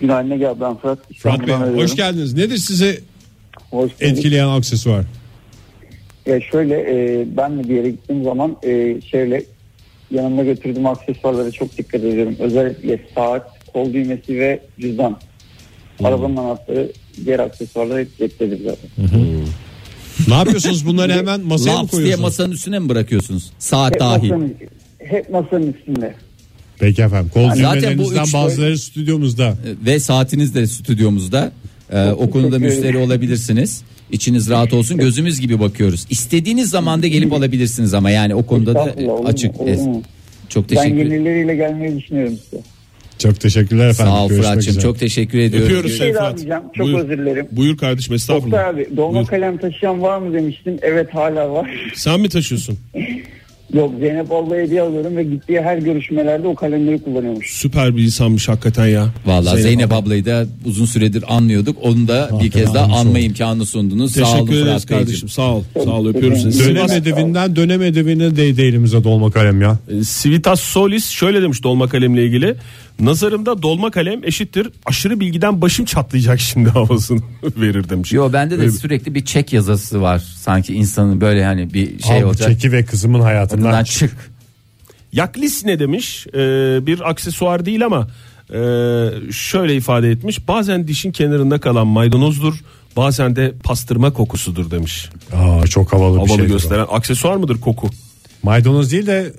Günaydın Ege abi ben Fırat. Fırat Bey İstanbul'dan arıyorum. hoş geldiniz. Nedir sizi Hoş bulduk. etkileyen aksesuar? Ya şöyle e, ben de bir yere gittiğim zaman e, şöyle yanımda götürdüğüm aksesuarlara çok dikkat ediyorum. Özellikle saat, kol düğmesi ve cüzdan. Arabanın anahtarı diğer aksesuarlar hep ceptedir zaten. Ne yapıyorsunuz bunları hemen Şey masaya mı Laps diye koyuyorsunuz? masanın üstüne mi bırakıyorsunuz? Saat Hep dahil. masanın, hep masanın üstünde. Peki efendim. Kol Zaten bu düğmelerinizden üç- bazıları stüdyomuzda. Ve saatiniz de stüdyomuzda. Ee, o konuda teşekkür müşteri olabilirsiniz. İçiniz rahat olsun. Gözümüz gibi bakıyoruz. İstediğiniz zamanda gelip alabilirsiniz ama yani o konuda da Estağfurullah, olur mu? açık. Olur mu? Çok Ben teşekkür yenileriyle gelmeyi düşünüyorum size. Çok teşekkürler efendim. Sağ ol Görüşmek Fırat'cığım. üzere. Çok teşekkür ediyorum. Öpüyoruz. Bir şey daha Fırat. diyeceğim. Çok Buyur. özür dilerim. Buyur kardeşim Oktay estağfurullah. abi dolma Buyur. kalem taşıyan var mı demiştin. Evet hala var. *laughs* Sen mi taşıyorsun? Yok Zeynep Allah'a hediye alıyorum ve gittiği her görüşmelerde o kalemleri kullanıyormuş. Süper bir insanmış hakikaten ya. Vallahi Zeynep, ablayı da uzun süredir anlıyorduk. Onu da bir kez daha anmış anma olduk. imkanı sundunuz. Sağ olun Teşekkür ederiz Fırat Beyciğim. kardeşim. Sağ ol. Sağ ol öpüyorum seni. Dönem Sivas- edebinden dönem edebine değdi elimize dolma kalem ya. E, Civitas Solis şöyle demiş dolma kalemle ilgili. Nazarımda dolma kalem eşittir aşırı bilgiden başım çatlayacak şimdi *laughs* havasını verir demiş. Yo bende de Öyle bir- sürekli bir çek yazısı var. Sanki insanın böyle hani bir şey Al bu olacak. çeki ve kızımın Bundan hayatından. çık. Yaklis ne demiş? E, bir aksesuar değil ama e, şöyle ifade etmiş. Bazen dişin kenarında kalan maydanozdur. Bazen de pastırma kokusudur demiş. Aa, çok havalı, bir Havalı şey. gösteren aksesuar mıdır koku? Maydanoz değil de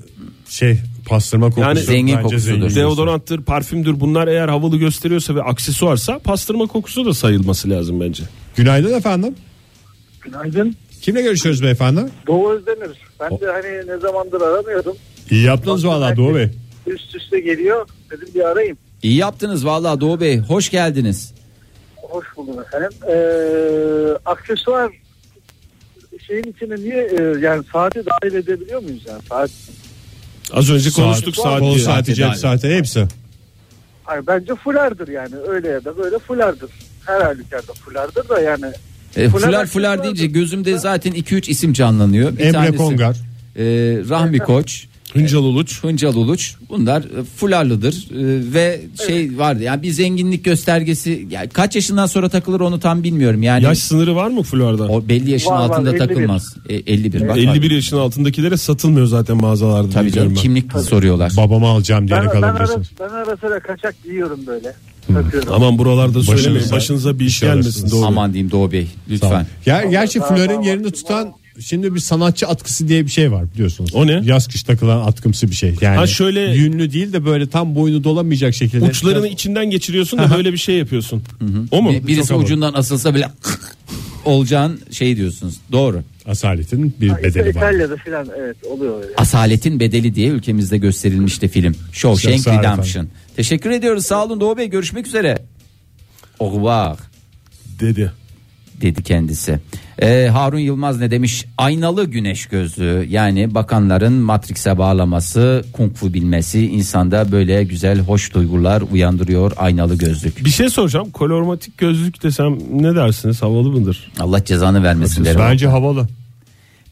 şey pastırma kokusu. Yani zengin bence kokusudur. zengin Deodoranttır, parfümdür bunlar eğer havalı gösteriyorsa ve aksesuarsa pastırma kokusu da sayılması lazım bence. Günaydın efendim. Günaydın. Kimle görüşüyoruz beyefendi? Doğu Özdemir. Ben de hani ne zamandır aramıyordum. İyi yaptınız valla Doğu Bey. Üst üste geliyor. Dedim bir arayayım. İyi yaptınız vallahi Doğu Bey. Hoş geldiniz. Hoş buldum efendim. Ee, aksesuar şeyin içine niye e, yani saati dahil edebiliyor muyuz yani saat? Az önce konuştuk saat, Kol diye. saati, cep saati hepsi. Hayır, bence fulardır yani öyle ya da böyle fulardır. Her halükarda fulardır da yani E, Fular fular aksesuar fular deyince mı? gözümde zaten 2-3 isim canlanıyor. Bir Emre tanesi, Kongar. e, Rahmi Koç. Hıncal Uluç. Hıncal Uluç bunlar e, fularlıdır E, ve şey vardı yani bir zenginlik göstergesi yani kaç yaşından sonra takılır onu tam bilmiyorum yani Yaş sınırı var mı fularda? o belli yaşın Var, var, altında 51. takılmaz E, 51 bak 51 yaşın altındakilere satılmıyor zaten mağazalarda. tabii biliyorum canım ben. kimlik soruyorlar Babama alacağım ben, Hmm, diyerek ben, ara, alabilirsiniz. ben ara sıra kaçak giyiyorum böyle. Takıyorum. Aman buralarda Başınıza- söylemeyin. Başınıza bir iş gelmesin. alırsınız. Doğru. aman diyeyim Doğu Bey lütfen Ya, gerçi Tamam, flörün tamam. yerini tutan şimdi bir sanatçı atkısı diye bir şey var biliyorsunuz. O ne? Yaz kış takılan atkımsı bir şey. Yani Ha, şöyle- yünlü değil de böyle tam boynu dolamayacak şekilde. Uçlarını içinden geçiriyorsun da böyle bir şey yapıyorsun. O mu? E, birisi Çok havalı. ucundan asılsa bile olacağın şey diyorsunuz doğru Asaletin bir İşte bedeli var. İtalya'da falan evet oluyor öyle. Asaletin Bedeli diye ülkemizde gösterilmişti film. Shawshank Sağ olun Redemption. Teşekkür ediyoruz. Sağ olun Doğu Bey. Görüşmek üzere. Au revoir dedi. dedi kendisi. Ee, Harun Yılmaz ne demiş? Aynalı güneş gözlüğü yani bakanların Matrix'e bağlaması, kung fu bilmesi insanda böyle güzel hoş duygular uyandırıyor aynalı gözlük. Bir şey soracağım. Kolormatik gözlük desem ne dersiniz? Havalı mıdır? Allah cezanı vermesin derim. Bence havalı.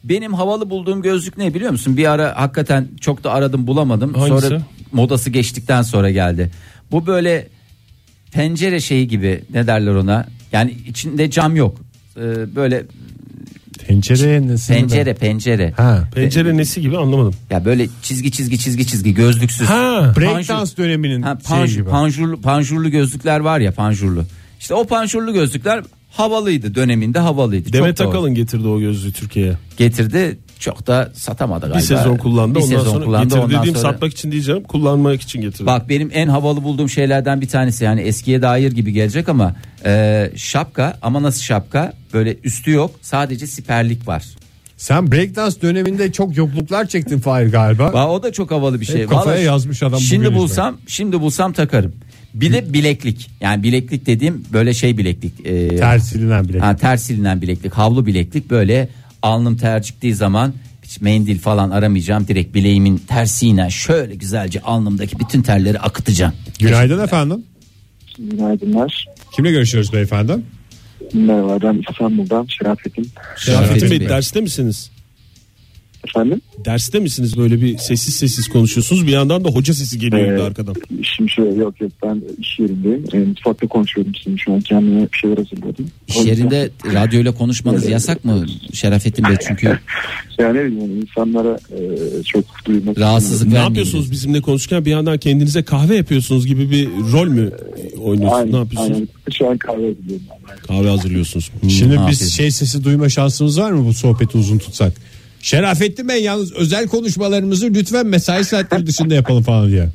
Benim havalı bulduğum gözlük ne biliyor musun? Bir ara hakikaten çok da aradım bulamadım. Hangisi? Sonra modası geçtikten sonra geldi. Bu böyle pencere şeyi gibi ne derler ona? Yani içinde cam yok. Ee, böyle Pencereye nesin? pencere pencere. Ha. Pencere nesi gibi anlamadım. Ya böyle çizgi çizgi çizgi çizgi gözlüksüz. Ha. Breakdance döneminin Ha, şeyi panj- gibi. panjurlu, panjurlu gözlükler var ya panjurlu. İşte o panjurlu gözlükler havalıydı döneminde havalıydı. Çok Demet da Akalın getirdi o gözlüğü Türkiye'ye. getirdi. Çok da satamadı galiba. Bir sezon kullandı. Bir ondan sezon sonra kullandı, getirdi ondan dediğim sonra- satmak için diyeceğim. Kullanmak için getirdi. Bak benim en havalı bulduğum şeylerden bir tanesi yani eskiye dair gibi gelecek ama e, şapka ama nasıl şapka böyle üstü yok sadece siperlik var. Sen breakdance döneminde çok yokluklar çektin Fahir galiba. Va, o da çok havalı bir şey. Hep E, kafaya Vallahi yazmış adam bugün Şimdi işte. bulsam şimdi bulsam takarım. Bir de bileklik yani bileklik dediğim böyle şey bileklik. E, Ters silinen bileklik. Ha, ters silinen bileklik havlu bileklik böyle alnım terciktiği zaman hiç mendil falan aramayacağım direkt bileğimin tersiyle şöyle güzelce alnımdaki bütün terleri akıtacağım. Günaydın efendim. Günaydınlar. Kimle görüşüyoruz beyefendi? Merhaba ben İstanbul'dan Şerafettin. Şerafettin Bey Bey. derste misiniz? Efendim? Derste misiniz böyle bir sessiz sessiz konuşuyorsunuz bir yandan da hoca sesi geliyordu Evet. arkadan. Şimdi şöyle yok yok ben iş yerindeyim. E, mutfakta konuşuyorum şimdi şu an kendime bir şeyler hazırladım. İş O yüzden- yerinde radyoyla konuşmanız yasak mı Şerafettin Bey? Çünkü Yani ne bileyim insanlara e, çok duymak Rahatsızlık Ne vermeyin. yapıyorsunuz bizimle konuşurken bir yandan kendinize kahve yapıyorsunuz gibi bir rol mü oynuyorsunuz? Aynen, ne yapıyorsunuz? aynen. Şu an kahve hazırlıyorum. ben. Kahve hazırlıyorsunuz. Hmm. Şimdi Aferin. biz şey sesi duyma şansımız var mı bu sohbeti uzun tutsak? Şerafettin Bey yalnız özel konuşmalarımızı lütfen mesai saatleri dışında yapalım falan diye.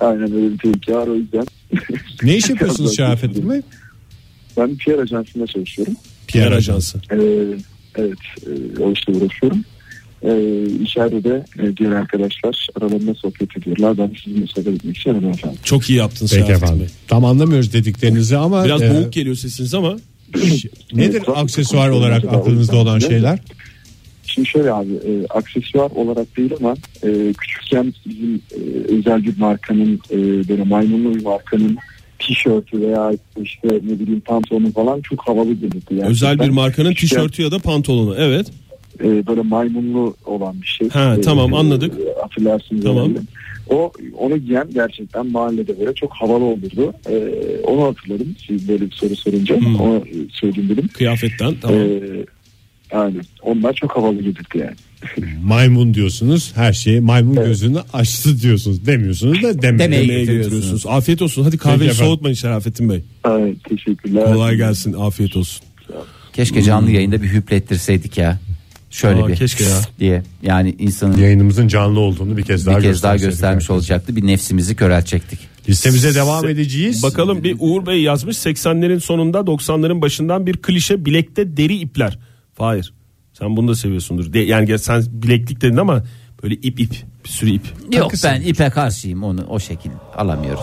Aynen öyle bir tehlike var o yüzden. *laughs* Ne iş yapıyorsunuz Şerafettin Bey? Ben PR ajansında çalışıyorum. PR ajansı. Ee, evet, e, o işte uğraşıyorum. Ee, içeride de e, diğer arkadaşlar aralarında sohbet ediyorlar. Ben sizinle sohbet etmek için aradım efendim. Çok iyi yaptınız Peki Şerafettin efendim. Bey. Tam anlamıyoruz dediklerinizi ama Biraz e, boğuk geliyor sesiniz ama nedir Evet, aksesuar olarak konuşmamızda aklınızda oldu. olan şeyler? Şimdi şöyle abi, e, aksesuar olarak değil ama e, küçükken bizim e, özel bir markanın, e, böyle maymunlu bir markanın tişörtü veya işte ne bileyim pantolonu falan çok havalı gelirdi. Yani özel bir Ben, markanın küçükken- tişörtü ya da pantolonu. Evet. e, böyle maymunlu olan bir şey. Ha, E, tamam, e, anladık. hatırlarsınız Tamam. herhalde. O onu giyen gerçekten mahallede böyle çok havalı olurdu. E, onu hatırladım. Siz böyle bir soru sorunca Hmm. onu e, söyleyeyim dedim. Kıyafetten tamam. E, yani onlar çok havalı gelirdi yani. Maymun diyorsunuz her şeyi maymun gözünü açtı diyorsunuz demiyorsunuz da demek. Demeye Demeye getiriyorsunuz. getiriyorsunuz. Afiyet olsun. Hadi kahveyi efendim. soğutmayın Şerafettin Bey. Evet, teşekkürler. Kolay gelsin. Afiyet olsun. keşke canlı yayında bir hüplettirseydik ya. Şöyle Aa, bir keşke ya. *laughs* diye. Yani insanın Yayınımızın canlı olduğunu bir kez daha bir kez daha gösterseydik göstermiş arkadaşlar. olacaktı. Bir nefsimizi köreltecektik. Listemize devam edeceğiz. Bakalım bir Uğur Bey yazmış 80'lerin sonunda 90'ların başından bir klişe bilekte deri ipler. Hayır. Sen bunu da seviyorsundur. De, yani gel- sen bileklik dedin ama böyle ip ip bir sürü ip. Yok ben ipe karşıyım onu o şekil alamıyoruz.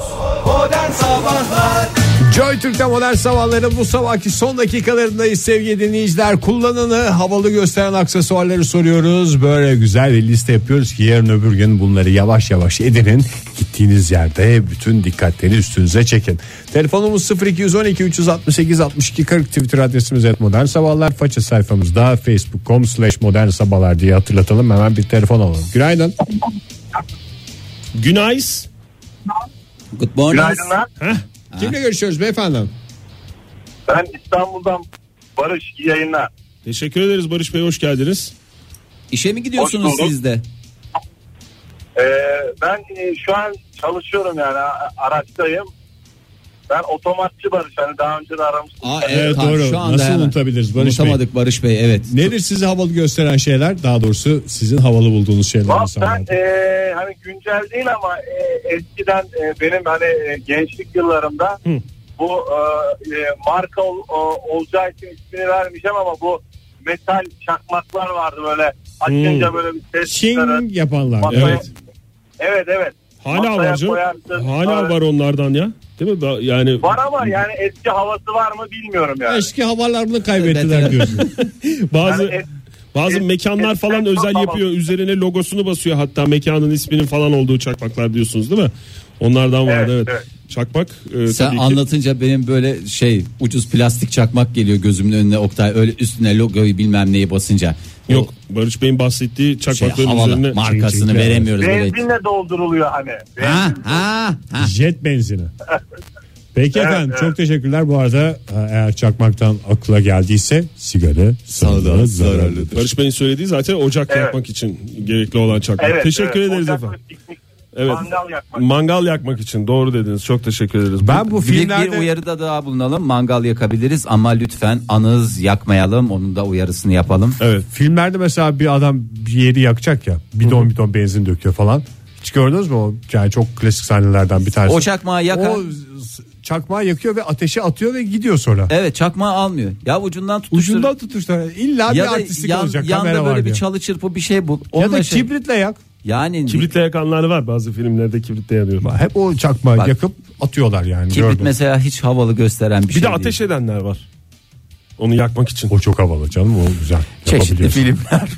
Joy Türk'te modern sabahları bu sabahki son dakikalarındayız sevgili dinleyiciler. Kullananı havalı gösteren aksesuarları soruyoruz. Böyle güzel bir liste yapıyoruz ki yarın öbür gün bunları yavaş yavaş edinin. Gittiğiniz yerde bütün dikkatleri üstünüze çekin. Telefonumuz 0212 368 62 40 Twitter adresimiz et modern sabahlar. Faça sayfamızda facebook.com slash modern sabahlar diye hatırlatalım. Hemen bir telefon alalım. Günaydın. Günays. Good morning. Günaydınlar. Kimle görüşüyoruz beyefendi? Ben İstanbul'dan Barış iyi yayınlar. Teşekkür ederiz Barış Bey hoş geldiniz. İşe mi gidiyorsunuz Hoş bulduk. siz de? Ee, ben e, şu an çalışıyorum yani a- araçtayım. Ben otomatçı Barış hani daha önce de aramıştım. Aa, Evet, Kaan, doğru. Nasıl unutabiliriz Barış Bey? Unutamadık Barış Bey evet. Nedir sizi havalı gösteren şeyler? Daha doğrusu sizin havalı bulduğunuz şeyler Valla insanlar. Ben e, hani güncel değil ama e, eskiden e, benim hani e, gençlik yıllarımda bu e, e, marka ol, o- olacağı için ismini vermeyeceğim ama bu metal çakmaklar vardı böyle açınca böyle bir ses çıkarır. Şing yapanlar. Masaya- Evet. Evet evet. Ee, Hala Masaya var canım. koyarsın. Hala Evet. var onlardan ya. Değil mi? Ba- Yani Var ama yani eski havası var mı bilmiyorum yani. Eski havalarını kaybettiler diyorsunuz. Yani bazı es- bazı es- mekanlar es- falan es- özel tamam. yapıyor. Üzerine logosunu basıyor hatta mekanın isminin falan olduğu çakmaklar diyorsunuz değil mi? Onlardan vardı evet. Evet, Çakmak e, Sen tabii ki- anlatınca benim böyle şey ucuz plastik çakmak geliyor gözümün önüne Oktay öyle üstüne logoyu bilmem neyi basınca. O Yok Barış Bey'in bahsettiği şey, çakmakların üzerine havalı markasını Çiğ- çiğ- veremiyoruz. böyle. benzinle dolduruluyor hani. Ha ha ha. Jet benzini. Peki Evet, efendim evet. çok teşekkürler. Bu arada e, eğer çakmaktan akla geldiyse sigara sağlığa zararlıdır. Barış Bey'in söylediği zaten ocak Evet. yakmak için gerekli olan çakmak. Evet, Teşekkür evet. ederiz Ocak efendim. ve piknik, Evet. Mangal yakmak. Mangal yakmak için doğru dediniz. Çok teşekkür ederiz. Ben bu Bir, de bir filmlerde uyarıda daha bulunalım. Mangal yakabiliriz ama lütfen anız yakmayalım. Onun da uyarısını yapalım. evet filmlerde mesela bir adam bir yeri yakacak ya. Bidon bidon benzin döküyor falan. Hiç gördünüz mü? o? Yani çok klasik sahnelerden bir tanesi. O çakmağı yakar. O z- çakmağı yakıyor ve ateşe atıyor ve gidiyor sonra. Evet çakmağı almıyor. Ya ucundan tutuştur. Ucundan tutuşlar. İlla bir ya da artistik yan- olacak. yanda kamera böyle var bir diyor. çalı çırpı bir şey bul. ya da Onunla şey- kibritle yak. Yani Kibritle yakanlar var bazı filmlerde kibritle yanıyor. Hep o çakma Bak. yakıp atıyorlar yani. kibrit gördüm. mesela hiç havalı gösteren bir, Bir şey de değil. ateş edenler var. Onu yakmak için. O çok havalı canım o güzel. Çeşitli Yapabiliyorsun. filmler.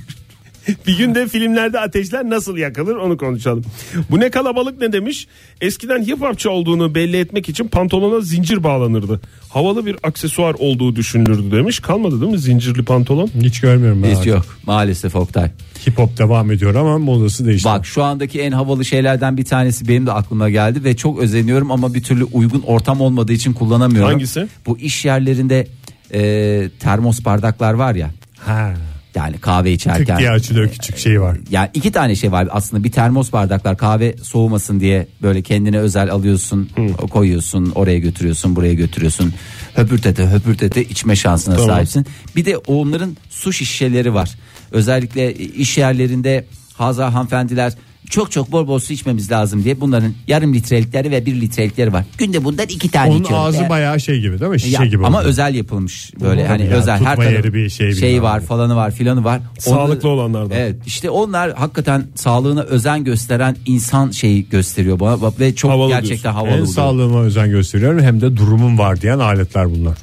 bir gün de filmlerde ateşler nasıl yakılır onu konuşalım. Bu ne kalabalık ne demiş? Eskiden hip hopçı olduğunu belli etmek için pantolona zincir bağlanırdı. Havalı bir aksesuar olduğu düşünülürdü demiş. Kalmadı değil mi zincirli pantolon? Hiç görmüyorum ben. Hiç abi. yok maalesef Oktay. Hip hop devam ediyor ama modası değişti. Bak şu andaki en havalı şeylerden bir tanesi benim de aklıma geldi ve çok özeniyorum ama bir türlü uygun ortam olmadığı için kullanamıyorum. Hangisi? Bu iş yerlerinde e, termos bardaklar var ya. Ha. Yani kahve Tık içerken. diye açılıyor küçük şey var. Yani iki tane şey var aslında bir termos bardaklar kahve soğumasın diye böyle kendine özel alıyorsun koyuyorsun oraya götürüyorsun buraya götürüyorsun höpürtete höpürtete içme şansına sahipsin. Bir de onların su şişeleri var özellikle iş yerlerinde haza hanımefendiler çok çok bol bol su içmemiz lazım diye bunların yarım litrelikleri ve bir litrelikleri var. Günde bundan Hani iki tane Onun içiyorum. ağzı Eğer- bayağı şey gibi değil mi? Şişe ya, gibi. ama oluyor. özel yapılmış böyle Tabii hani ya, özel tutma her tarafı yeri bir şey şeyi bilmem var ne. falanı var filanı var. Sağlıklı olanlardan. Evet işte onlar hakikaten sağlığına özen gösteren insan şeyi gösteriyor bana ve çok Havalı gerçekten havalı Hem buluyorum. sağlığıma özen gösteriyorum hem de durumum var diyen aletler bunlar.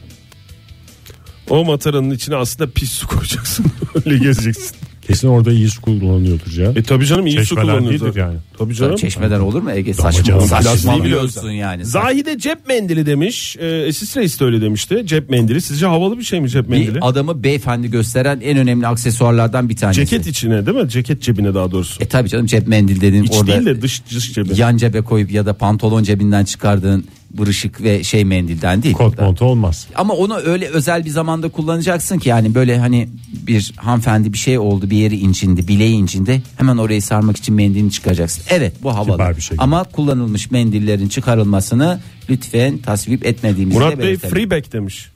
O mataranın içine aslında pis su koyacaksın. *laughs* Öyle gezeceksin. Kesin orada iyi su kullanıyordur ya. E tabii canım iyi su Çeşmeden kullanılır. değildir zaten. yani. Tabii canım. Çeşmeden olur mu Ege canım, saçma plastiği bile saçmalıyorsun yani. Zahide cep mendili demiş. Ee, Esis Reis de öyle demişti. Cep mendili. Sizce havalı bir şey mi cep mendili? bir adamı beyefendi gösteren en önemli aksesuarlardan bir tanesi. Ceket içine değil mi? Ceket cebine daha doğrusu. E tabii canım cep mendil dediğin İç orada değil de dış, dış cebi. yan cebe koyup ya da pantolon cebinden çıkardığın bırışık ve şey mendilden değil. Kot montu olmaz. Ama onu öyle özel bir zamanda kullanacaksın ki yani böyle hani bir hanımefendi bir şey oldu bir yeri incindi bileği incindi hemen orayı sarmak için mendilini çıkaracaksın. Evet bu havalı bir şey. ama kullanılmış mendillerin çıkarılmasını lütfen tasvip etmediğimizi Murat de Bey belirtelim. freeback demiş.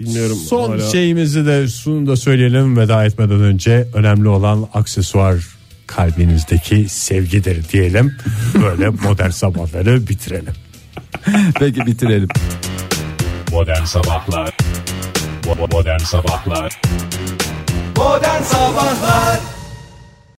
Bilmiyorum. Son hala. şeyimizi de şunu da söyleyelim veda etmeden önce önemli olan aksesuar kalbinizdeki sevgidir diyelim. Böyle modern sabahları bitirelim. Peki bitirelim. Modern sabahlar. Modern sabahlar. Modern Sabahlar